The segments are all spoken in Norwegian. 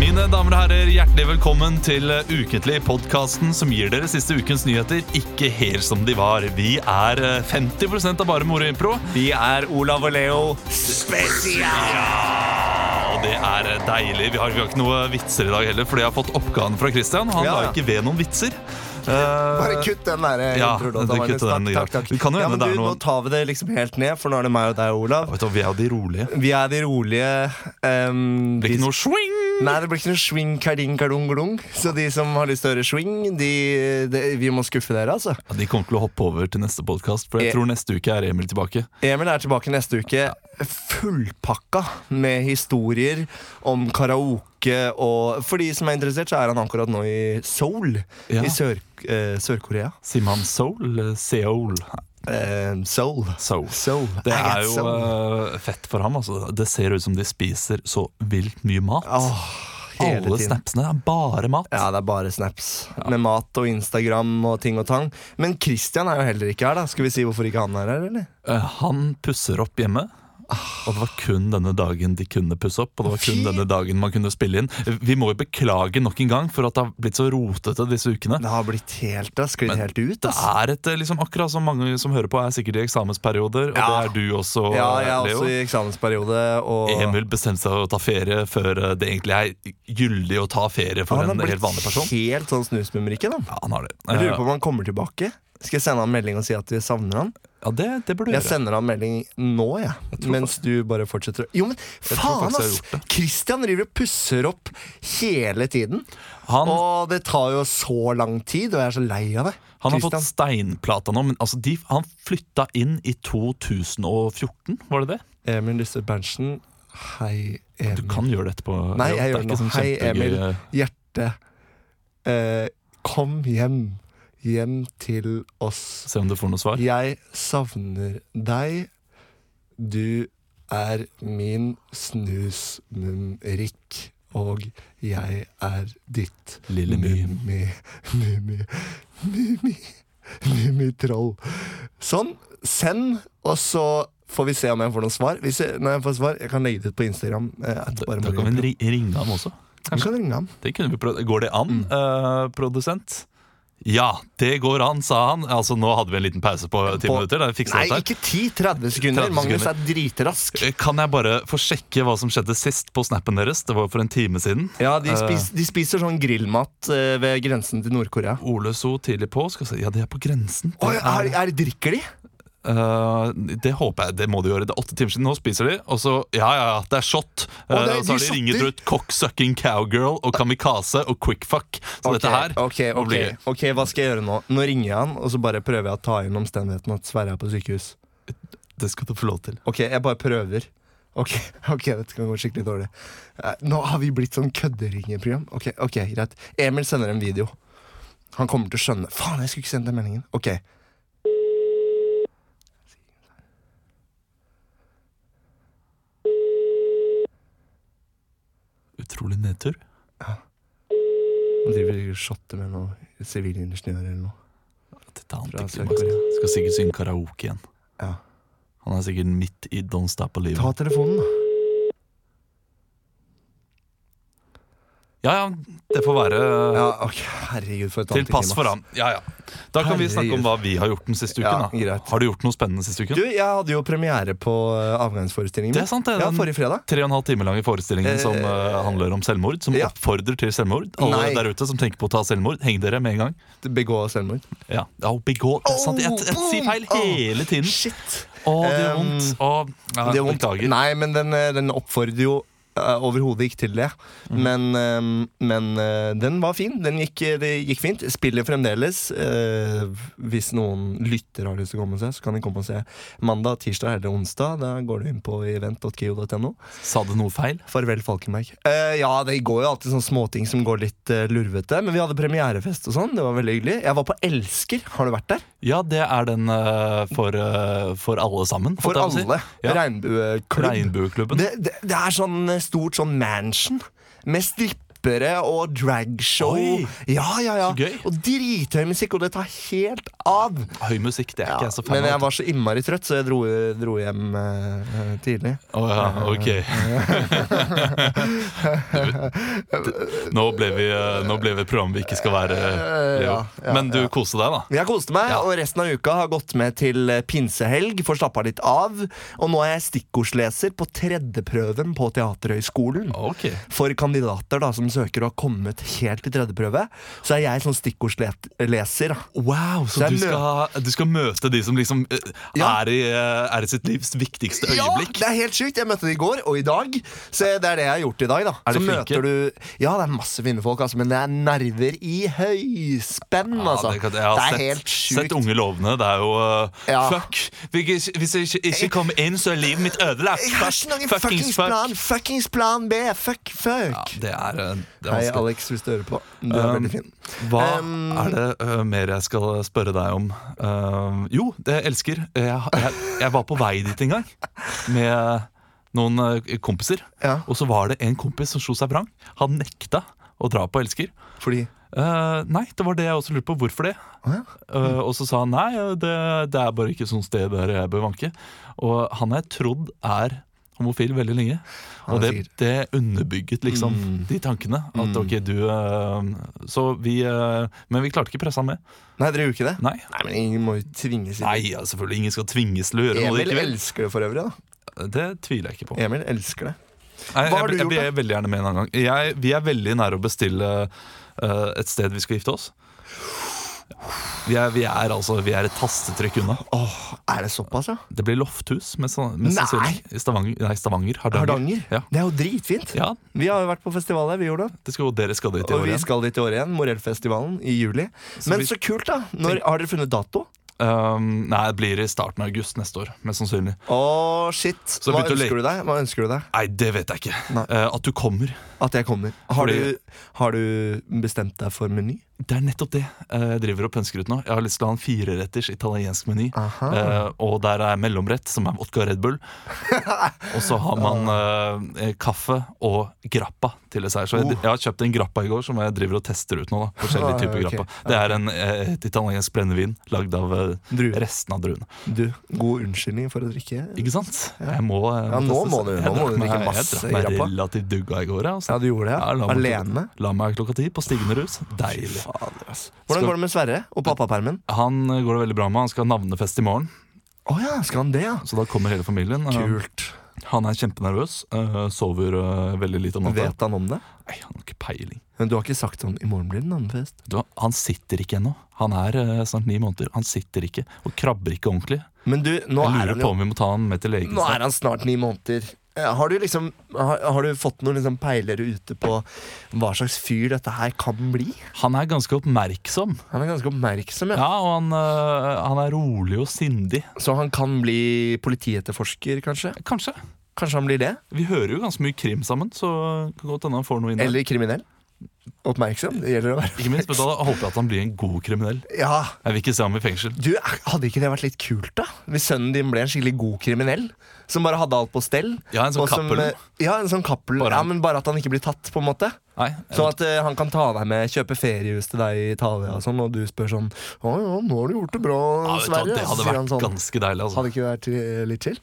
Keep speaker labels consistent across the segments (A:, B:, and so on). A: Mine damer og herrer, hjertelig velkommen til Uketlig, podkasten som gir dere siste ukens nyheter ikke helt som de var. Vi er eh, 50 av bare moro impro. Vi er Olav og Leo spesial! Det er eh, deilig. Vi har, vi har ikke noe vitser i dag heller, fordi jeg har fått oppgaven fra Christian. Han
B: Ja,
A: la
B: ja.
A: ikke ved noen vitser. Eh,
B: Bare kutt den der
A: Ja,
B: introdåten,
A: du kutter
B: Magnus.
A: den,
B: Takk,
A: Ivar.
B: takk, takk.
A: Det kan jo
B: ja,
A: hende
B: men
A: det er
B: du,
A: noen-
B: Nå tar vi det liksom helt ned, for nå er det meg og deg, Olav.
A: vet du, vi er jo de rolige.
B: Vi er de rolige. ehm,
A: Det blir
B: de-
A: ikke noe swing!
B: Nei, det blir ikke noe swing, karding, kardung, glung. Så de som har lyst til å høre swing, de, de, vi må skuffe dere, altså.
A: Ja, De kommer til å hoppe over til neste podkast, for
B: Eh.
A: jeg tror neste uke er Emil tilbake.
B: Emil er tilbake neste uke fullpakka med historier om karaoke og For de som er interessert, så er han akkurat nå i Seoul
A: Ja.
B: i Sør, eh, Sør-Korea.
A: Simhan Soul? eller Seoul?
B: Eh, Seoul.
A: Soul.
B: Seoul.
A: Det
B: I got
A: er jo
B: Seoul.
A: eh, fett for ham. Altså. Det ser ut som de spiser så vilt mye mat.
B: hele
A: eh, Alle
B: tiden.
A: snapsene er bare mat.
B: Ja, det er bare snaps med mat og Instagram og ting og tang. Men Christian er jo heller ikke her, da. Skal vi si hvorfor ikke han er her, eller?
A: Eh, han pusser opp hjemme. Og det var kun denne dagen de kunne pusse opp. Og det var kun
B: Ah. Fy-
A: denne dagen man kunne spille inn Vi må jo beklage nok en gang for at det har blitt så rotete disse ukene.
B: Det har blitt helt, det har sklidd
A: Men
B: helt ut,
A: Det
B: ass.
A: er et, eh, liksom, Akkurat som mange som hører på, er sikkert i eksamensperioder. Og
B: Ja.
A: det er du også,
B: Ja, jeg er
A: Leo.
B: også i eksamensperiode, og
A: Emil bestemte seg for å ta ferie før eh, det egentlig er gyldig å ta ferie for
B: han
A: en
B: har
A: helt vanlig person.
B: blitt helt sånn snusmumrikke, da.
A: Ja, han har det.
B: Jeg
A: Eh,
B: lurer på om han kommer tilbake. Skal jeg sende han melding og si at vi savner han?
A: Ja, det, det burde du
B: Jeg
A: gjøre.
B: sender han melding nå, jeg. Mens du bare fortsetter å Jo, men
A: tror
B: faen,
A: faktisk jeg har
B: ass!
A: gjort det.
B: Christian driver og pusser opp hele tiden.
A: Han,
B: Og det tar jo så lang tid, og jeg er så lei av det.
A: han har fått
B: Christian.
A: steinplata nå, men altså, de, han flytta inn i 2014, var det det?
B: Emil Lysse Berntsen. Hei, Emil.
A: Du kan gjøre det etterpå.
B: Nei,
A: Leo.
B: jeg
A: Det er
B: gjør det
A: ikke
B: nå.
A: sånn
B: Hei, Emil.
A: kjempegøy-
B: Hjerte. Eh, kom hjem. Hjem til oss.
A: Se om du får noe svar.
B: Jeg savner deg. Du er min snusmumrikk. Og jeg er ditt
A: Lille My.
B: Mummi-mummi-mummi-troll. Sånn. Send, og så får vi se om jeg får noen svar. Hvis jeg, når jeg får svar, jeg kan legge det ut på Instagram. Eh, at
A: Da,
B: bare
A: da kan
B: Mario-
A: vi ri- ringe ham også.
B: Vi kan ringe ham.
A: Det kunne vi prøvd. Går det
B: Mm.
A: an, eh, produsent? Ja, det går an, sa han. Altså, Nå hadde vi en liten pause på ti
B: På-
A: minutter. Da fiksa
B: Nei,
A: vi dette.
B: ikke 10, 30 sekunder.
A: 30
B: Magnus
A: sekunder.
B: er dritrask.
A: her. Kan jeg bare få sjekke hva som skjedde sist på snappen deres? Det var for en time siden.
B: Ja, de,
A: Eh,
B: spis, de spiser sånn grillmat eh, ved grensen til Nord-Korea.
A: Ole So tidlig på. Skal vi se. Ja, de er på grensen. Det
B: Oi, er, er, drikker de?
A: Eh, det håper jeg, det må de gjøre. Det er åtte timer siden, nå spiser de. Og så, ja, ja, ja, det er shot.
B: Å,
A: Eh,
B: det er-
A: og så har
B: de
A: de ringet
B: shotter.
A: ut cocksucking cowgirl og kamikaze og quickfuck. Så dette her
B: Ok,
A: må
B: ok,
A: bli-
B: ok, hva skal jeg gjøre nå? Nå ringer jeg han, og så bare prøver jeg å ta inn omstendigheten at Sverre er på sykehus.
A: Det skal du få lov til.
B: Ok, jeg bare prøver. Ok, ok, dette kan gå skikkelig dårlig. Eh, Nå har vi blitt sånn kødderingeprogram. Ok, ok, greit. Emil sender en video. Han kommer til å skjønne. Faen, jeg skulle ikke sendt den meldingen. Ok.
A: Utrolig nedtur.
B: Han driver og shotter med noen sivilingeniører eller noe.
A: Dette er han
B: Fra
A: dyktig
B: Sør-Korea.
A: Max. Skal sikkert synge karaoke igjen.
B: Ja.
A: Han er sikkert midt i Don't Stop Believin'.
B: Ta telefonen, da.
A: Ja ja, det får være eh,
B: Ja, ok, herregud, for et
A: til
B: annet
A: pass for ham. Ja ja. Da kan vi snakke om hva vi har gjort den siste uken.
B: Ja,
A: da
B: greit.
A: Har du gjort noe spennende siste uken?
B: Du, jeg hadde jo premiere på eh, avgangsforestillingen
A: det er
B: min.
A: sant, det.
B: Ja,
A: Den-
B: forrige fredag.
A: tre og en halv time lange forestillingen
B: Eh,
A: som eh, handler om selvmord. Som
B: ja.
A: oppfordrer til selvmord. Alle
B: Nei.
A: der ute som tenker på å ta selvmord, heng dere med en gang.
B: Begå selvmord.
A: Ja, ja og begå det er sant, Jeg, jeg,
B: boom!
A: sier feil
B: Åh,
A: hele tiden.
B: Oh, Shit.
A: Å, det gjør
B: Um,
A: vondt. Å, ja,
B: Det er vondt.
A: Beklager.
B: Nei, men den, eh, den oppfordrer jo eh, overhodet ikke til det.
A: Mhm.
B: Men, eh, men eh, den var fin. Den gikk, eh, det gikk fint. Spiller fremdeles. Eh, hvis noen lytter har lyst til å komme seg, så kan de komme og se mandag, tirsdag eller onsdag. Da går du inn på event.kio.no.
A: Sa du noe feil?
B: Farvel, Falkenberg. Eh, ja, det går jo alltid sånne småting som går litt eh, lurvete. Men vi hadde premierefest og sånn. Det var veldig hyggelig. Jeg var på Elsker. Har du vært der?
A: Ja, det er den eh, for, eh, for alle sammen.
B: For
A: holdt jeg på å si.
B: alle.
A: Ja.
B: Regnbueklubb.
A: Regnbueklubben.
B: Det, det, det er sånn stort sånn mansion med strippere og dragshow.
A: Oi.
B: Ja, ja, ja.
A: Så gøy.
B: Og drithøy musikk, og det tar helt av.
A: Høy musikk, det er
B: Ja,
A: ikke jeg så fan
B: men jeg
A: av.
B: var så innmari trøtt, så jeg dro, dro hjem eh, tidlig.
A: Å ja, ok. Du, nå, ble vi, eh, nå ble vi et program vi ikke skal være.
B: Eh,
A: Leo.
B: ja, ja,
A: Men du koste deg, da?
B: Jeg koste meg, og resten av uka har gått med til eh, pinsehelg. Får slappa litt av. Og nå er jeg stikkordsleser på tredjeprøven på Teaterhøgskolen.
A: Ok.
B: for kandidater da, som søker og har kommet helt til tredje prøve, så er jeg sånn stikkordsleser. da.
A: Wow,
B: Så
A: så
B: jeg
A: du
B: mø-
A: skal, du skal møte de som liksom eh,
B: Ja.
A: er, i, eh, er i sitt livs viktigste øyeblikk?
B: det er helt sykt. Jeg møtte det i går og i dag. Så det er det jeg har gjort i dag. da
A: Er de
B: så
A: flinke?
B: møter du Ja, det er masse fine folk, altså, men det er nerver i høyspenn.
A: Ja,
B: altså.
A: det, kan, jeg har
B: det er
A: sett,
B: helt
A: sett
B: sjukt.
A: Unge lovende. Det er jo eh,
B: Ja.
A: Fuck! Hvis jeg, hvis jeg ikke, ikke kommer inn, så er livet mitt ødelagt.
B: Jeg har ikke noen fuckings plan! Fuckings plan B! Fuck,
A: Ja,
B: fuck!
A: det er, eh, det er
B: Hei,
A: vanskelig.
B: Alex, hvis du hører på. Du er
A: Um,
B: veldig fin.
A: Hva
B: Um,
A: er det eh, mer jeg skal spørre deg om? Eh, jo, det jeg elsker. Jeg, jeg, jeg var på vei dit en gang med noen eh, kompiser.
B: Ja.
A: Og så var det en kompis som slo seg vrang. Han nekta å dra på Elsker.
B: Fordi
A: Eh, nei, det var det jeg også lurte på. Hvorfor det?
B: Å ja.
A: Eh, og så sa han nei, det, det er bare ikke sånn sted der jeg bør vanke. Og han har jeg trodd er homofil veldig lenge. Og
B: Han er
A: det, det underbygget liksom de tankene. At ok, du eh, Så vi eh, Men vi klarte ikke pressa han med.
B: Nei, dere gjorde ikke det?
A: Nei.
B: Nei, men ingen må jo tvinges inn.
A: Nei, ja, selvfølgelig. Ingen skal tvinges til å gjøre noe de
B: Emil
A: ikke vil.
B: elsker det for øvrig, da.
A: Det tviler jeg ikke på.
B: Emil elsker det.
A: Nei, jeg,
B: Hva har
A: jeg,
B: du
A: jeg,
B: gjort,
A: blir veldig gjerne med en annen gang. Jeg, vi er veldig nære å bestille eh, et sted vi skal gifte oss. Vi er, vi er altså Vi er et tastetrykk unna.
B: Åh, er det såpass, ja?
A: Det blir lofthus, mest sann- mest
B: Nei!
A: sannsynlig. I Stavanger. Nei, Stavanger. Hardanger.
B: Hardanger?
A: Ja.
B: Det er jo dritfint.
A: ja,
B: Vi har jo vært på festivalet, vi gjorde det.
A: det skal, dere skal dit i
B: Og
A: år
B: vi
A: igjen.
B: skal dit i år igjen. Morellfestivalen i juli. Men
A: vi-
B: så kult, da! Når, har dere funnet dato?
A: Um, nei, det blir i starten av august neste år, mest sannsynlig.
B: Å, shit.
A: Så
B: Hva
A: begynte å le-
B: ønsker du deg? Hva ønsker du deg?
A: Nei, det vet jeg ikke.
B: Nei.
A: Eh, at du kommer.
B: At jeg kommer. Har,
A: Fordi-
B: du, har du bestemt deg for meny?
A: Det er nettopp det eh, jeg driver og pønsker ut nå. Jeg har lyst til å ha en fireretters italiensk meny.
B: Aha.
A: Eh, og der er mellomrett, som er vodka og Red Bull. og så har man eh, kaffe og grappa til dessert. Så jeg,
B: Oh.
A: jeg har kjøpt en grappa i går som jeg driver og tester ut nå. da Forskjellige
B: Ah,
A: typer
B: ok.
A: grappa. Det er en, eh, et italiensk brennevin lagd av eh,
B: Druer.
A: resten av druene.
B: Du, god unnskyldning for å drikke.
A: Ikke sant? Jeg må eh,
B: Ja, nå
A: testes.
B: må du- nå
A: Jeg
B: må
A: drakk
B: du drikke
A: meg-
B: masse
A: Jeg drakk meg
B: grappa.
A: relativt dugga i går. jeg, altså.
B: Ja, du gjorde det?
A: Ja, la
B: Ja,
A: meg-
B: Alene?
A: La meg klokka ti på stigende rus. Deilig.
B: Fader, ass.
A: Skal-
B: Hvordan går det med Sverre og pappapermen?
A: Han eh, går det veldig bra med. Han skal ha navnefest i morgen,
B: Å ja, skal han det, ja?
A: så da kommer hele familien. Eh,
B: Kult.
A: Han er kjempenervøs. eh, Sover eh, veldig lite om natta.
B: Vet han om det?
A: Nei, han har ikke peiling.
B: Men du har ikke sagt sånn 'i morgen blir det navnefest'?
A: Du, han sitter ikke ennå. Han er eh, snart ni måneder. Han sitter ikke og krabber ikke ordentlig.
B: Men du, nå
A: Jeg
B: er
A: lurer
B: han
A: på
B: jo
A: om vi må ta han med til legen.
B: Nå
A: snart.
B: er han snart ni måneder. Ja, Har du, liksom, har, har du fått noen liksom peilere ute på hva slags fyr dette her kan bli?
A: Han er ganske oppmerksom.
B: Han er ganske oppmerksom, ja.
A: Ja, og han, eh, han er rolig og sindig.
B: Så han kan bli politietterforsker, kanskje?
A: Kanskje.
B: Kanskje han blir det?
A: Vi hører jo ganske mye krim sammen, så det kan godt hende han får noe inn der.
B: Eller kriminell? Oppmerksom? Det gjelder å være
A: Ikke minst, vet du, hva, jeg håper at han blir en god kriminell.
B: Ja!
A: Jeg vil ikke se ham i fengsel.
B: Du, Hadde ikke det vært litt kult, da? Hvis sønnen din ble en skikkelig god kriminell? Som bare hadde alt på stell?
A: Ja, en sånn
B: og som,
A: Cappelen.
B: eh, Ja, en sånn kappel.
A: Bare
B: Ja,
A: han-
B: men bare at han ikke blir tatt, på en måte.
A: Nei,
B: Sånn at eh, han kan ta deg med, kjøpe feriehus til deg i Italia og sånn, og du spør sånn Å ja, nå har du gjort det bra,
A: ja, vet du, hva,
B: Sverre.
A: det
B: Så
A: hadde
B: sier han
A: vært
B: sånn,
A: ganske deilig. Altså.
B: hadde ikke det vært eh, litt chill?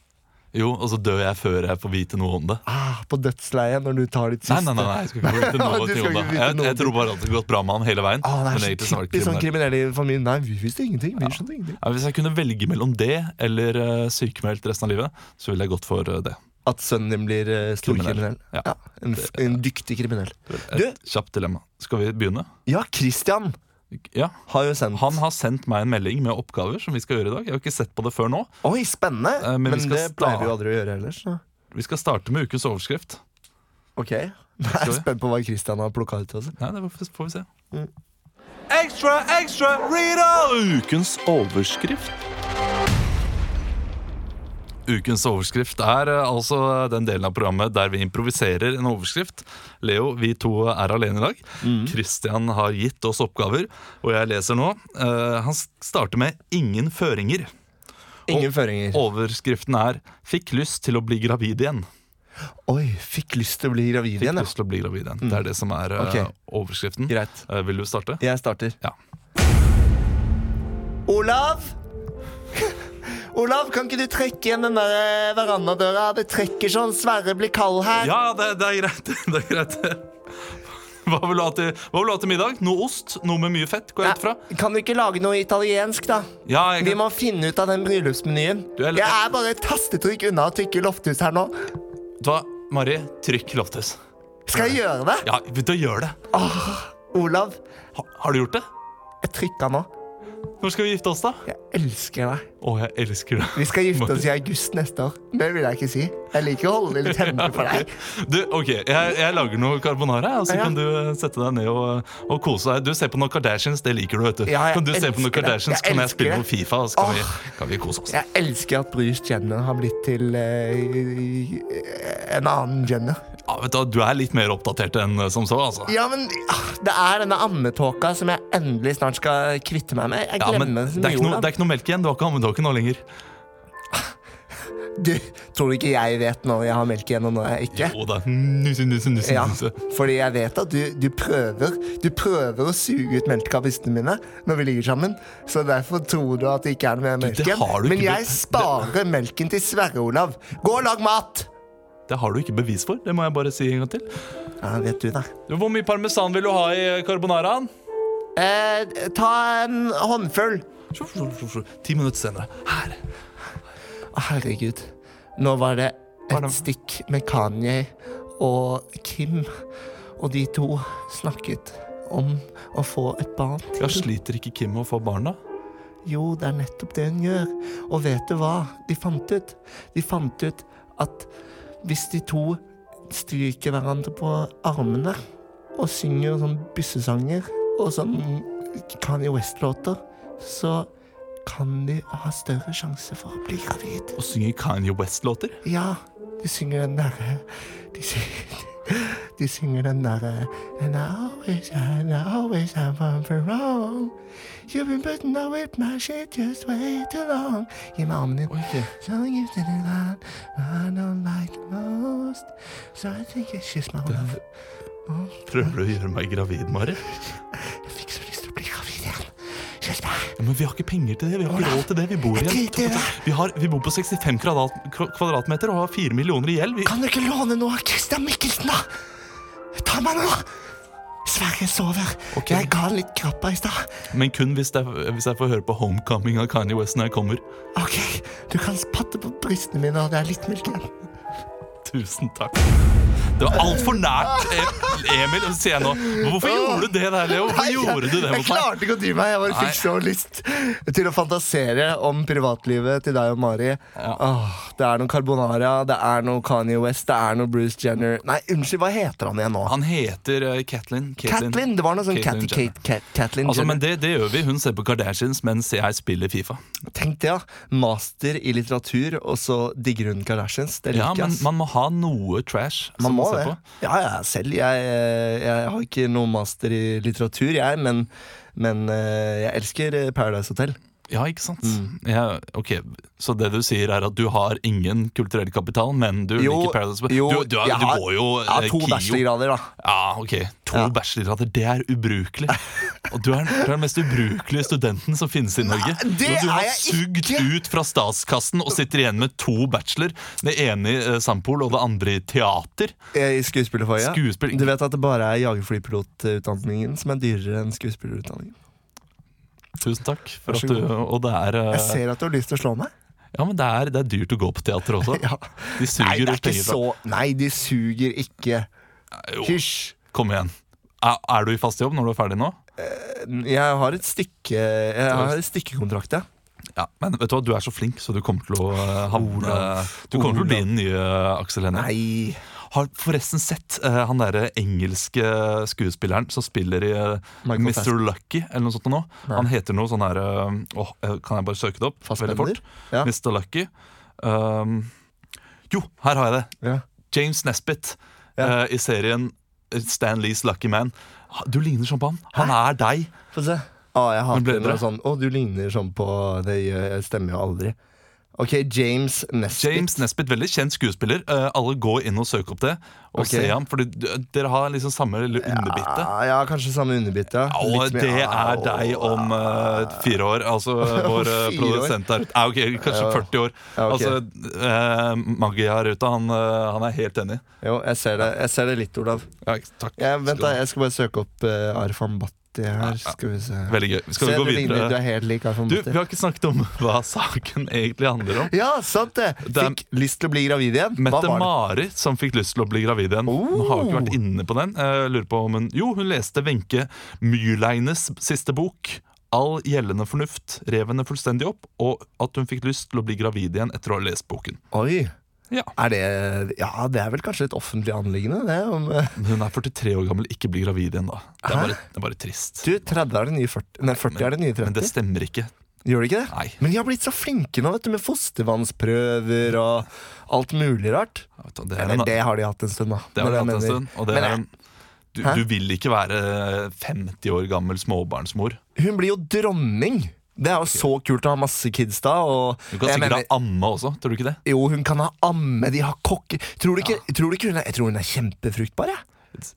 A: Jo, Og så dør jeg før jeg får vite noe om det.
B: Ah, på dødsleiet når du tar ditt
A: Nei,
B: siste.
A: nei, nei, nei jeg skal ikke få vite
B: Ja, du
A: noe
B: skal
A: til om det.
B: ikke vite
A: Jeg,
B: noe
A: jeg tror bare at det har gått bra med han hele veien.
B: Ah, det
A: men
B: er
A: egentlig
B: så
A: var det
B: typisk sånn
A: kriminell.
B: kriminelle i familien. Nei, vi visste ingenting. Vi skjønte ingenting.
A: Ja, hvis jeg kunne velge mellom det eller eh, sykemeldt resten av livet, så ville jeg gått for eh, det.
B: At sønnen din blir eh, stor kriminell.
A: Kriminell. Ja.
B: en, f- en dyktig kriminell.
A: Et
B: Du-
A: kjapt dilemma. Skal vi begynne?
B: Ja, Christian
A: Ja.
B: har jo sendt
A: Han har sendt meg en melding med oppgaver som vi skal gjøre i dag. Jeg har ikke sett på det før nå.
B: Oi, spennende!
A: Eh, men vi
B: men
A: skal
B: det
A: sta-
B: pleier vi jo aldri å gjøre ellers. så.
A: Vi skal starte med ukens overskrift.
B: Ok. Jeg
A: Skal
B: er
A: vi?
B: spent på hva Christian har plukka ut. Altså.
A: Nei, det får- får vi se.
B: Mm.
A: Ekstra, ekstra, Rita! Ukens overskrift. Ukens overskrift er eh, altså den delen av programmet der vi improviserer en overskrift. Leo, vi to er alene i dag.
B: Mm.
A: Christian har gitt oss oppgaver, og jeg leser nå. eh, han s- starter med 'Ingen føringer'.
B: Ingen
A: Og-
B: føringer.
A: Overskriften er 'Fikk lyst til å bli gravid igjen'.
B: Oi, fikk lyst til å bli gravid
A: Fikk
B: igjen, ja.
A: lyst til å bli gravid igjen. Det er det som er eh,
B: Mm. Ok.
A: overskriften.
B: Greit.
A: Eh, vil du starte?
B: Jeg starter.
A: Ja.
B: Olav! Olav, kan ikke du trekke igjen den der eh, verandadøra? Det trekker sånn. Sverre blir kald her.
A: Ja, det, det er greit. Det er greit. Hva vil, du ha til, hva vil du ha til middag? Noe ost? Noe med mye fett? Går jeg ut fra?
B: Kan du ikke lage noe italiensk, da?
A: Ja, jeg,
B: Vi må finne ut av den bryllupsmenyen.
A: Du er-
B: Jeg er bare et tastetrykk unna å trykke Lofthus her nå.
A: Vet du hva, Mari, trykk Loftus.
B: Skal jeg gjøre det?
A: Ja, begynn å gjøre det.
B: Olav,
A: Ha, har du gjort det?
B: jeg trykka nå.
A: Når skal vi gifte oss, da?
B: Jeg elsker deg.
A: Å, jeg elsker det.
B: Vi skal gifte oss i august neste år. Det vil jeg ikke si. Jeg liker å holde litt hemmelig for deg.
A: Du, ok, jeg, jeg lager noe carbonara, og så
B: Ja.
A: kan du eh, sette deg ned og, og kose deg. Du ser på noen Kardashians, det liker du, vet du.
B: Ja, jeg
A: kan du se
B: elsker
A: på noen
B: det.
A: Kardashians,
B: Jeg
A: kan jeg
B: elsker
A: spille
B: det.
A: noe Fifa, og så kan,
B: Åh.
A: vi, kan vi kose oss.
B: Jeg elsker at Bruce Jenner har blitt til eh, en annen Jenner.
A: Ja, vet Du hva, du er litt mer oppdatert enn eh, som så, altså.
B: Ja, men ah, det er denne ammetåka som jeg endelig snart skal kvitte meg med. Jeg
A: Ja,
B: glemmer
A: men det
B: så
A: er,
B: mye,
A: ikke noe,
B: Olav.
A: det er ikke noe melk igjen. Du har ikke ammedåke nå lenger.
B: Du, tror du ikke jeg vet når jeg har melk igjen, og når jeg ikke?
A: Jo da. Nusse, nusse, nusse,
B: Ja,
A: nusse.
B: fordi jeg vet at du, du prøver Du prøver å suge ut melk av brystene mine når vi ligger sammen. Så derfor tror du at det ikke er noe mer melk
A: det har
B: igjen.
A: du ikke
B: Men
A: blitt-
B: jeg
A: det-
B: sparer melken til Sverre Olav. Gå og lag mat!
A: Det har du ikke bevis for. Det må jeg bare si en gang til.
B: Ja, vet du det.
A: Du, Hvor mye parmesan vil du ha i carbonaraen?
B: Eh, ta en håndfull.
A: Sjo, sjo, sjo, sjo. Ti minutter senere. Her.
B: Å, Herregud. Nå var det
A: Var
B: et
A: det-
B: stikk med Kanye og Kim. Og de to snakket om å få et barn til.
A: Ja, sliter ikke Kim med å få barn, da?
B: Jo, det er nettopp det hun gjør. Og vet du hva de fant ut? De fant ut at hvis de to stryker hverandre på armene og synger sånn byssesanger og sånn Kanye West-låter, så kan de ha større sjanse for å bli gravid.
A: Og synger Kanye West-låter?
B: Ja, de synger den derre de, synger- de synger den derre And I always, and I always have one for wrong. You've been putting up with my shit just way too long. Gi meg armen din. So you did it all I don't like it most. So I think it's just my love.
A: Prøver du å gjøre meg gravid, Mari?
B: Jeg fikk så lyst til å bli gravid igjen. Kyss meg.
A: Ja, men vi har ikke penger til det. Vi har ikke råd til det. Vi bor
B: Jeg
A: igjen.
B: driter i det.
A: Vi, har, vi bor på 65 kvadrat, kvadratmeter og har fire millioner i gjeld. Vi,
B: Kan du ikke låne noe av Christian Mikkelsen, da? Ta meg nå! Sverre sover.
A: Ok.
B: Jeg ga han litt krabba i stad.
A: men kun hvis jeg, hvis jeg får høre på Homecoming av Kanye West når jeg kommer.
B: Ok, du kan patte på brystene mine, og det er litt melk igjen.
A: Tusen takk. Det var altfor nært, E- Emil. Sier jeg nå. Hvorfor gjorde du det der, Leo? Hvorfor gjorde du det
B: jeg
A: mot meg?
B: klarte ikke å dy meg. Jeg bare fikk
A: Nei.
B: så lyst til å fantasere om privatlivet til deg og Mari.
A: Ja.
B: Åh, det er noe carbonara, det er noe Kanye West, det er noe Bruce Jenner Nei, unnskyld, hva heter han igjen nå?
A: Han heter eh, Katlin.
B: Catlin. Det var noe sånn Catty
A: Jenner.
B: Kate Cat- Catlin
A: Altså,
B: Jenner.
A: men det, det gjør vi. Hun ser på Kardashians mens jeg spiller Fifa.
B: Tenk det, ja. Master i litteratur, og så digger hun Kardashians. Det
A: Ja,
B: liker jeg.
A: men
B: ass.
A: man må ha noe trash. som
B: Man må
A: ser
B: det.
A: på.
B: Ja, ja, selv. Jeg, eh, jeg har ikke noe master i litteratur, jeg, men, men eh, jeg elsker eh, Paradise Hotel.
A: Ja, ikke sant?
B: Mm.
A: Ja, ok, Så det du sier, er at du har ingen kulturell kapital, men du
B: Jo,
A: liker Paradise Hotel?
B: jo,
A: Du, du, er-
B: jeg
A: du
B: har-
A: går jo
B: Jeg har
A: eh,
B: to
A: KIO.
B: bachelorgrader, da.
A: Ja, ok. To
B: Ja.
A: bachelorgrader, det er ubrukelig. Og du er, du er den mest ubrukelige studenten som finnes i Norge.
B: Nei, det
A: Når du har
B: er jeg
A: sugd
B: ikke.
A: ut fra statskassen og sitter igjen med to bachelor. Det ene i eh, Sampol og det andre i teater.
B: eh, I skuespillerfaget.
A: Skuespill-
B: Du vet at det bare er jagerflypilotutdanningen som er dyrere enn skuespillerutdanningen.
A: Tusen takk. For
B: Vær så
A: at du,
B: god.
A: og det er, eh,
B: Jeg ser at du har lyst til å slå meg.
A: ja, men det, er, det er dyrt å gå på teater også.
B: Ja.
A: De
B: Nei,
A: suger
B: det er
A: ut
B: ikke
A: penger fra
B: så Nei, de suger ikke.
A: Jo,
B: Hysj.
A: Kom igjen. Er, er du i fast jobb når du er ferdig nå?
B: Jeg har et stykke Jeg har et stykkekontrakt, ja.
A: Ja, men vet Du hva, du er så flink, så du kommer til å eh, havne
B: Olav,
A: Du kommer til å bli
B: Olav.
A: den nye Aksel Hennie.
B: Nei.
A: Har forresten sett eh, han derre engelske eh, skuespilleren som spiller i eh,
B: Michael
A: Mr. Lucky eller noe sånt nå. Han heter noe sånn her eh, åh, eh, Kan jeg bare søke det opp?
B: Fassbender?
A: Veldig fort.
B: Ja.
A: Mr. Lucky. Um, jo, her har jeg det!
B: Ja.
A: James Nesbitt
B: Ja.
A: eh, i serien Stan Lees Lucky Man. Ha- Du ligner sånn på han. Han er deg.
B: Få se. Ah, jeg
A: Men ble
B: hater når
A: det?
B: sånn Å, du ligner sånn på Det gjør, jeg stemmer jo aldri. Ok, James Nesbitt.
A: James Nesbitt, veldig kjent skuespiller. Eh, alle går inn og søker opp det. Og
B: Ok.
A: se ham, for dere har liksom samme lille underbitte.
B: Ah, ja, kanskje samme underbitt, ja.
A: Og
B: Litt mer- Ah,
A: det er
B: Au.
A: deg om eh, fire år. Altså vår eh,
B: Fire år?
A: produsent der ute. Ah, ok, kanskje
B: Ja.
A: 40 år.
B: Ja, ok.
A: Altså, eh, Maggia her ute, han, eh, han er helt enig.
B: Jo, jeg ser det, jeg ser det litt, Olav.
A: takk.
B: Jeg, vent, da. Jeg skal bare søke opp eh, Arfan Bhatti her. Skal vi se.
A: Veldig gøy. Skal
B: se,
A: vi gå
B: du ligner, Du
A: videre?
B: er helt lik Arfan
A: Du,
B: Bhatti.
A: vi har ikke snakket om hva saken egentlig handler om.
B: Ja, sant det!
A: Det er-
B: Fikk lyst til å bli gravid igjen. Hva var det? Oh!
A: Mette-Mari som fikk lyst til å bli gravid igjen. Hun har jo ikke vært inne på den. Eh, lurer på om hun Jo, hun leste Wenche Myrleines siste bok. All gjeldende fornuft rev henne fullstendig opp, og at hun fikk lyst til å bli gravid igjen etter å ha lest boken.
B: Oi.
A: Ja.
B: Er det Ja, det er vel kanskje et offentlig anliggende, det. Om, eh,
A: Men Hun er 43 år gammel, ikke blir gravid igjen da. Det er bare, det er bare trist.
B: du, 30 er det nye 40. Nei, 40 er det nye
A: Men det
B: 30.
A: stemmer ikke.
B: Gjør det ikke det?
A: Nei.
B: Men de har blitt så flinke nå, vet du, med fostervannsprøver og alt mulig rart.
A: Vet du, Det er
B: Eller
A: en,
B: det har de hatt en stund, da.
A: det har
B: Men
A: vi hatt
B: jeg mener-
A: en stund. Og det
B: Men
A: er
B: jeg-
A: en, du,
B: Hæ?
A: du vil ikke være 50 år gammel småbarnsmor.
B: Hun blir jo dronning! Det er jo så kult å ha masse kids da. Og
A: Du kan
B: jeg
A: sikkert
B: mener-
A: ha amme også, tror du ikke det?
B: jo, hun kan ha amme, de har kokke Tror du ikke, tror du ikke hun, er, jeg tror hun er kjempefruktbar? Jeg.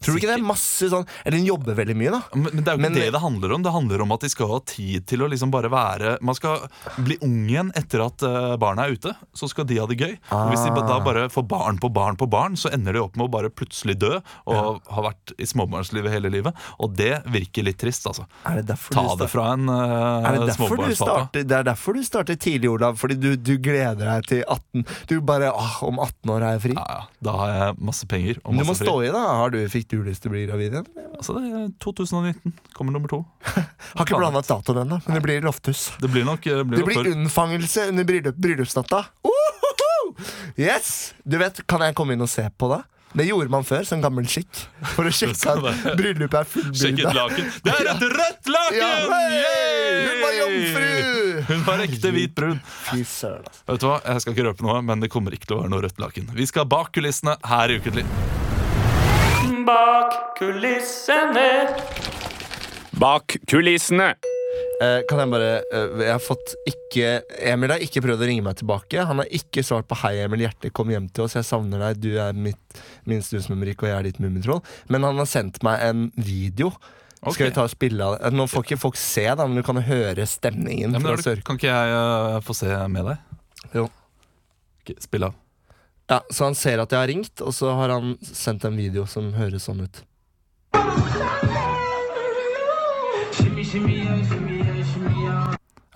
B: Tror du ikke det er masse sånn Eller hun jobber veldig mye, da.
A: Men, men det er jo ikke
B: Men-
A: det det handler om. Det handler om at de skal ha tid til å liksom bare være Man skal bli ung igjen etter at eh, barna er ute. Så skal de ha det gøy. Og hvis de ba-
B: Ah.
A: da bare får barn på barn på barn, så ender de opp med å bare plutselig dø og har vært i småbarnslivet hele livet. Og det virker litt trist, altså.
B: Er det derfor
A: Ta
B: du sta-
A: det fra en eh,
B: Er det, derfor du
A: småbarnspappa.
B: starter, det er derfor du starter tidlig, Olav. Fordi du, du gleder deg til 18. Du bare åh, om 18 år er jeg fri.
A: Ja, ja. Da har jeg masse penger og
B: du må
A: masse fri.
B: stå i, da. Har du, fikk du lyst til å bli gravid igjen?
A: Altså, det er 2019 kommer nummer to.
B: Har ikke planlagt datoen ennå, men det blir lofthus.
A: Det blir nok eh,
B: Det
A: blir nok
B: blir
A: før.
B: unnfangelse under bryllup, bryllupsnatta. Ohoho! Yes! Du vet, Kan jeg komme inn og se på det? Det gjorde man før, som gammel skikk. For å sjekke at bryllupet er
A: Sjekk et
B: fullbyrda.
A: laken. Det er et rødt laken!
B: Ja, hei!
A: Yay!
B: Hun var jomfru!
A: Hun var ekte hvitbrun.
B: Fy søren, altså.
A: Vet du hva, Jeg skal ikke røpe noe, men det kommer ikke til å være noe rødt laken. Vi skal bak kulissene her i Ukentlig.
C: Bak kulissene.
D: Bak kulissene.
B: Eh, kan jeg bare eh, Jeg har fått ikke Emil har ikke prøvd å ringe meg tilbake. Han har ikke svart på 'Hei, Emil Hjerte, kom hjem til oss. Jeg savner deg. Du er mitt, min snusmummerikk, og jeg er ditt mummitroll'. Men han har sendt meg en video. Skal vi ta og spille av det? Nå får ikke folk se, da, men du kan høre stemningen.
A: Ja, men,
B: fra
A: er
B: Sør-
A: du, kan ikke jeg eh, få se med deg?
B: Jo.
A: Ok, Spill av.
B: Ja, Så han ser at jeg har ringt, og så har han sendt en video som høres sånn ut.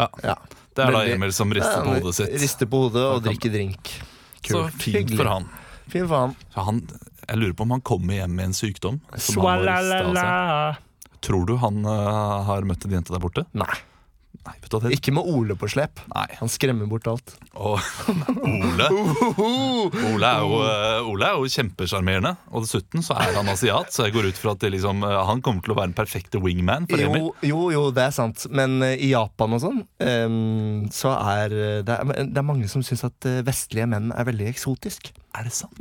A: Ja.
B: Ja.
A: Det er da
B: Veldig-
A: Emil som rister på hodet sitt.
B: Rister på hodet og
A: Han kan-
B: drikker drink.
A: Så fint for han.
B: Fint for han.
A: Så han. Jeg lurer på om han kommer hjem med en sykdom. som han må riste av seg.
C: Swalalala.
A: Tror du han eh, har møtt en jente der borte?
B: Nei.
A: Nei, vet du hva det
B: Ikke med Ole på slep.
A: Nei.
B: Han skremmer bort alt.
A: Og Ole Ole er jo, eh, Ole er jo kjempesjarmerende. Og dessuten så er han asiat, så jeg går ut fra at det liksom, eh, han kommer til å være den perfekte wingman for Emil.
B: Jo, jo, jo, det er sant. Men eh, i Japan og sånn, eh, så er eh, det, er det er mange som syns at eh, vestlige menn er veldig eksotisk.
A: Er det sant?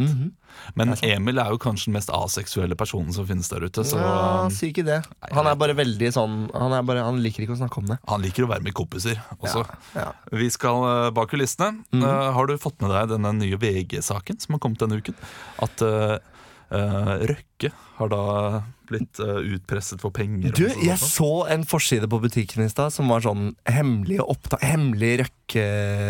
A: Men Emil er jo kanskje den mest aseksuelle personen som finnes der ute. Så
B: Ja,
A: um,
B: si ikke det. Han er bare veldig sånn Han, er bare, han liker ikke å snakke om det.
A: han liker å være med kompiser også.
B: Ja.
A: Vi skal eh, bak kulissene. Eh, har du fått med deg denne nye VG-saken som har kommet denne uken? At eh, eh, Røkke har da blitt eh, utpresset for penger. og
B: Du,
A: sånt og sånn?
B: jeg
A: sånt.
B: så en forside på butikken i stad som var sånn hemmelige opptak... Hemmelig røkke...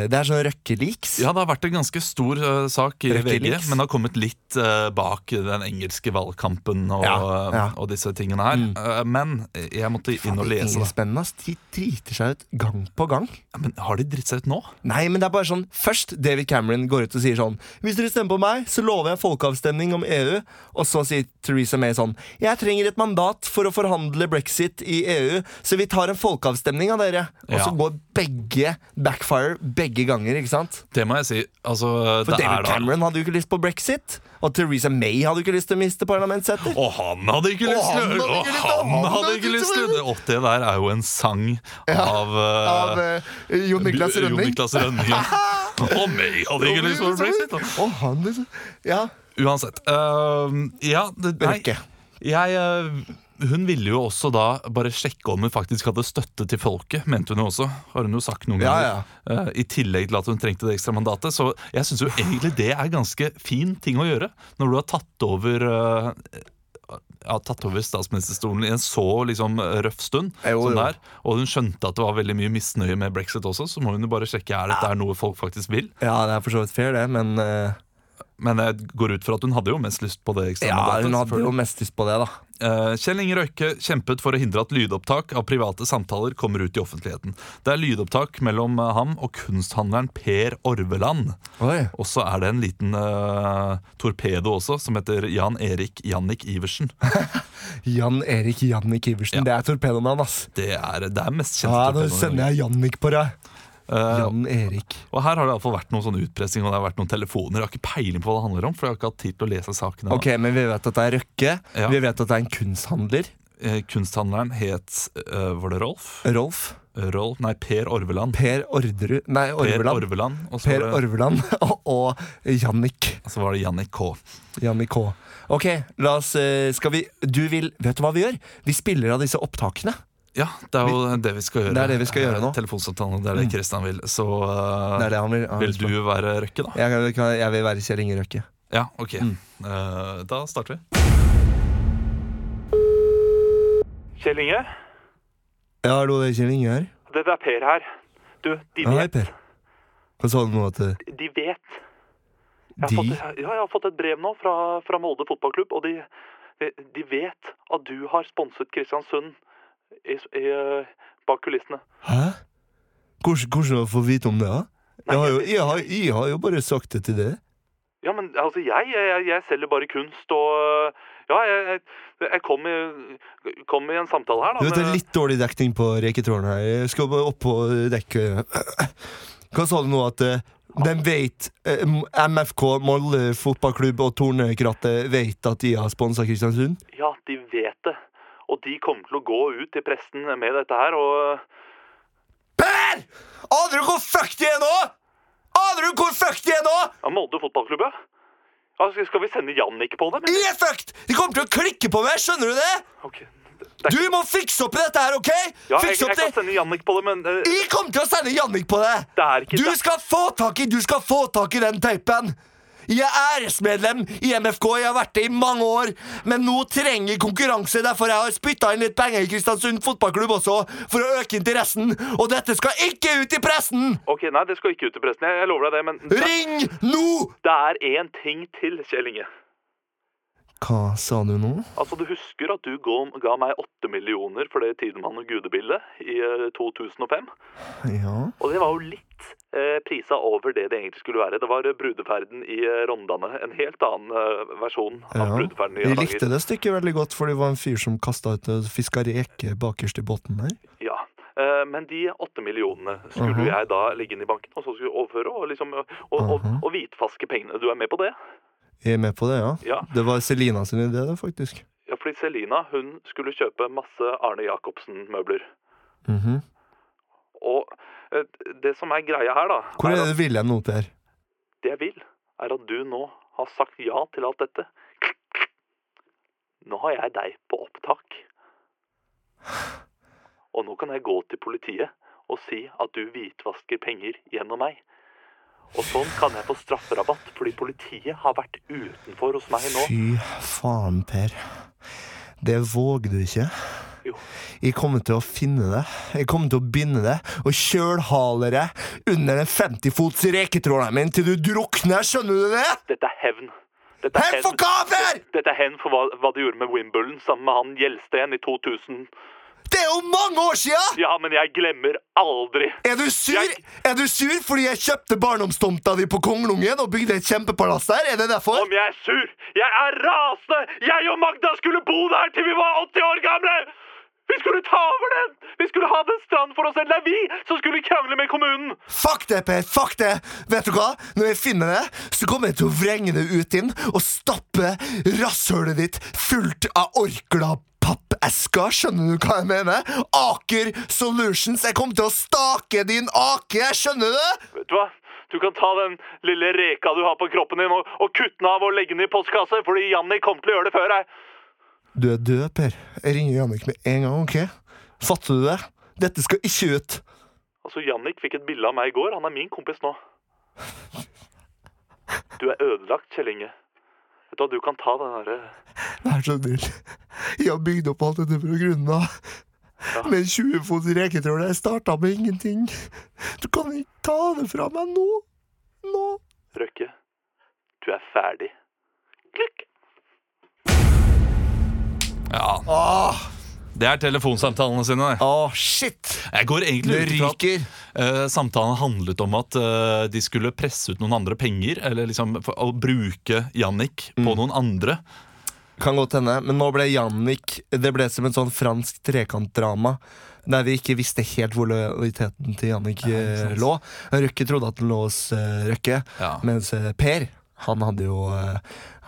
B: Det er sånn røkkeleaks.
A: Ja, det har vært en ganske stor eh, sak i
B: Røkke
A: VG,
B: Leaks.
A: men det har kommet litt eh, bak den engelske valgkampen og,
B: Ja, Mm. ja.
A: og disse tingene her. Eh, men jeg måtte inn og
B: Det er
A: lese.
B: ingen
A: Da.
B: spennende, ass. De driter seg ut gang på gang.
A: Ja, Men har de dritt seg ut nå?
B: Nei, men det er bare sånn Først David Cameron går ut og sier sånn Hvis dere stemmer på meg, så lover jeg folkeavstemning om EU. Og så sier Theresa May sånn Jeg trenger et mandat for å forhandle brexit i EU, så vi tar en folkeavstemning av dere. Og så
A: Ja.
B: går begge backfire begge ganger, ikke sant?
A: Det må jeg si. Altså,
B: For
A: det
B: David
A: er da
B: Cameron hadde jo ikke lyst på brexit. Og Theresa May hadde jo ikke lyst til å miste parlamentssetet.
A: Og han hadde ikke
B: Og
A: lyst til
B: han
A: det!
B: hadde ikke lyst til
A: Og
B: det.
A: han hadde ikke lyst til det! Og det der er jo en sang av,
B: Av
A: eh,
B: eh, Jon Niklas
A: Jo
B: Rønning.
A: Niklas Rønning. Og meg hadde ikke lyst på brexit! da.
B: Og han, liksom. Ja.
A: Uansett. ehm, ja, det, nei.
B: Røkke.
A: Jeg, eh, hun ville jo også da bare sjekke om hun faktisk hadde støtte til folket, mente hun jo også. Har hun jo sagt noen
B: Ja,
A: ganger. Eh, I tillegg til at hun trengte det ekstra mandatet. Så jeg syns jo egentlig det er ganske fin ting å gjøre, når du har tatt over eh, ja, tatt over statsministerstolen i en så liksom røff stund.
B: Jo,
A: som
B: jo.
A: der, og hun skjønte at det var veldig mye misnøye med brexit også, så må hun jo bare sjekke er dette er noe folk faktisk vil.
B: ja, det er for så vidt fair, det, men eh,
A: Men jeg går ut fra at hun hadde jo mest lyst på det ekstra
B: ja,
A: mandatet.
B: hun hadde
A: selvfølgelig.
B: jo mest lyst på det, da.
A: Eh, Kjell Inge Røyke kjempet for å hindre at lydopptak av private samtaler kommer ut i offentligheten. Det er lydopptak mellom eh, ham og kunsthandleren Per Orveland.
B: Oi.
A: Og så er det en liten eh, torpedo også, som heter Jan Erik Jannik Iversen.
B: Jan Erik Jannik Iversen.
A: Ja.
B: Det er torpedoen han, ass.
A: Det er det er mest kjente
B: Ja, nå
A: torpedoen i Norge.
B: sender jeg Jannik på deg.
A: Eh,
B: Jan Erik.
A: og her har det i hvert fall vært noen sånn utpressing og det har vært noen telefoner. Jeg har ikke peiling på hva det handler om, for jeg har ikke hatt tid til å lese sakene.
B: Ok, men vi vet at det er Røkke.
A: Ja.
B: Vi vet at det er en kunsthandler.
A: Eh, kunsthandleren het eh, Var det Rolf?
B: Rolf.
A: Rolf? Nei, Per Orveland.
B: Per Orderud Nei,
A: Per
B: Orveland.
A: Orveland. Og så
B: Per
A: var det-
B: Orveland og, og Jannik.
A: så var det Jannik K.
B: Jannik K. Ok, la oss eh, Skal vi Du vil Vet du hva vi gjør? Vi spiller av disse opptakene.
A: Ja, det er jo det vi skal gjøre.
B: Det er det vi skal gjøre nå. Mm.
A: Eh, Telefonsamtalen, det er det Kristian vil. Så eh,
B: Det er det han vil. Han
A: vil du være Røkke, da?
B: Jeg, jeg, jeg vil være Kjell Inge Røkke.
A: Ja, ok.
B: Mm.
A: Eh, da starter vi.
E: Kjell Inge,
B: Ja, hallo, det er Kjell Inge her.
E: det er Per her. Du, de
B: Ja, hei,
E: vet.
B: Per. Hva sa du nå til
E: De vet. Jeg har,
B: De?
E: fått, ja, jeg har fått et brev nå fra, fra Molde fotballklubb, og de, de, de vet at du har sponset Kristiansund i, i, eh, bak kulissene.
B: Hæ? Hvordan, hvordan får jeg vite om det, da? Jeg har, jo, jeg, har, jeg har jo bare sagt det til deg.
E: Ja, men altså, jeg, jeg, jeg selger bare kunst, og ja, jeg, jeg, jeg kom, i, kom i en samtale her,
B: Du
E: da.
B: vet, Det er
E: med-
B: litt dårlig dekning på reketråden her. Jeg skal bare opp på dekket. Hva sa du nå? At eh, den veit eh, MFK, Molde fotballklubb og Tornekrattet veit at de har sponsa Kristiansund?
E: Ja, de vet det. Og de kommer til å gå ut til pressen med dette her, og
B: Per! Aner du hvor fucked de er nå?! Aner du hvor fucked de er nå?!
E: ja, Molde fotballklubb, ja. Ja, skal- Skal vi sende Jannik på dem?
B: De
E: eller?
B: er fucked! De kommer til å klikke på meg, skjønner du det?!
E: Ok.
B: Du må fikse opp i dette her, OK?!
E: Ja, jeg,
B: Fikse
E: jeg
B: opp det!
E: kan sende Jannik på det, men eh,
B: Jeg kommer til å sende Jannik på det!
E: Det er ikke
B: du
E: det.
B: skal få tak i Du skal få tak i den teipen! Jeg er æresmedlem i MFK, jeg har vært det i mange år, men nå trenger jeg konkurranse. Derfor jeg har spytta inn litt penger i Kristiansund fotballklubb også, for å øke interessen. Og dette skal ikke ut i pressen!
E: Ok, nei, det skal ikke ut til pressen. Jeg, jeg lover deg det, men det,
B: Ring nå!
E: det er én ting til, Kjell Inge.
B: Hva sa du nå?
E: Altså, Du husker at du ga, ga meg åtte millioner for det Tidemann og Gudebildet i eh, 2005?
B: Ja
E: Og det var jo litt eh, prisa over det det egentlig skulle være. Det var eh, brudeferden i eh, Rondane. En helt annen eh, versjon av brudeferden i
B: Jeg
E: Hardanger.
B: likte det stykket veldig godt, for det var en fyr som kasta ut og fiska reke bakerst i båten her.
E: Ja. eh, Men de åtte millionene skulle
B: Mhm.
E: jeg da legge inn i banken og så skulle jeg overføre og, liksom, og, og,
B: Mhm.
E: og, og hvitvaske pengene. Du er med på det?
B: Jeg er med på det, ja.
E: Ja.
B: Det var Selina sin idé, det, faktisk.
E: Ja, fordi Selina hun skulle kjøpe masse Arne Jacobsen-møbler.
B: Mhm.
E: Og eh, det som er greia her, da
B: Hvor er
E: at
B: det du vil hen nå, Per?
E: det jeg vil, er at du nå har sagt ja til alt dette. Nå har jeg deg på opptak. Og nå kan jeg gå til politiet og si at du hvitvasker penger gjennom meg. Og sånn kan jeg få strafferabatt, fordi politiet har vært utenfor hos meg nå.
B: Fy faen, Per. Det vågde du ikke.
E: Jo.
B: Jeg kommer til å finne det. Jeg kommer til å binde det og kjølhale det under den 50 fots reketråleren min til du drukner, skjønner du det?
E: Dette er hevn. Dette
B: Hevn for hva, Per?!
E: Dette er hen for hva, hva de gjorde med Wimbledon sammen med han Gjelsten i 2000.
B: Det er jo mange år sia!
E: Ja, men jeg glemmer aldri.
B: Er du sur?
E: Jeg-
B: Er du sur fordi jeg kjøpte barndomstomta di på Kongelungen og bygde et kjempepalass der? Er det derfor?
E: Om jeg er sur! Jeg er rasende! Jeg og Magda skulle bo der til vi var 80 år gamle! Vi skulle ta over den! Vi skulle ha den stranden for oss selv! Det er vi som skulle krangle med kommunen!
B: Fuck det, Per! Fuck det! Vet du hva? Når jeg finner det, så kommer jeg til å vrenge det ut inn og stappe rasshølet ditt fullt av orkla pappesker. Skjønner du hva jeg mener? Aker Solutions. Jeg kommer til å stake din ake, jeg skjønner det!
E: Vet du hva? Du kan ta den lille reka du har på kroppen din, og, og kutte den av og legge den i postkasse, fordi Janni kommer til å gjøre det før deg.
B: Du er død, Per. Jeg ringer Jannik med en gang, OK? Fatter du det? Dette skal ikke ut.
E: Altså, Jannik fikk et bilde av meg i går. Han er min kompis nå. Du er ødelagt, Kjell Inge. Vet du hva, du kan ta den eh, derre
B: Vær så snill. Jeg har bygd opp alt dette fra grunnen av. Med en 20 fot reketrål. Jeg starta med ingenting. Du kan ikke ta det fra meg nå. Nå.
E: Røkke. Du er ferdig. Klikk!
A: Ja,
B: Åh,
A: Det er telefonsamtalene sine. det.
B: åh shit!
A: Jeg går egentlig
B: Det
A: ut ifra at
B: ryker.
A: eh, samtalen handlet om at eh, de skulle presse ut noen andre penger, eller liksom for, å bruke Jannik
B: Mm.
A: på noen andre.
B: Kan godt hende, men nå ble Jannik Det ble som en sånn fransk trekantdrama. Der vi ikke visste helt hvor lojaliteten til Jannik eh, lå. Røkke trodde at den lå hos eh, Røkke,
A: Ja.
B: mens eh, Per han hadde jo, eh,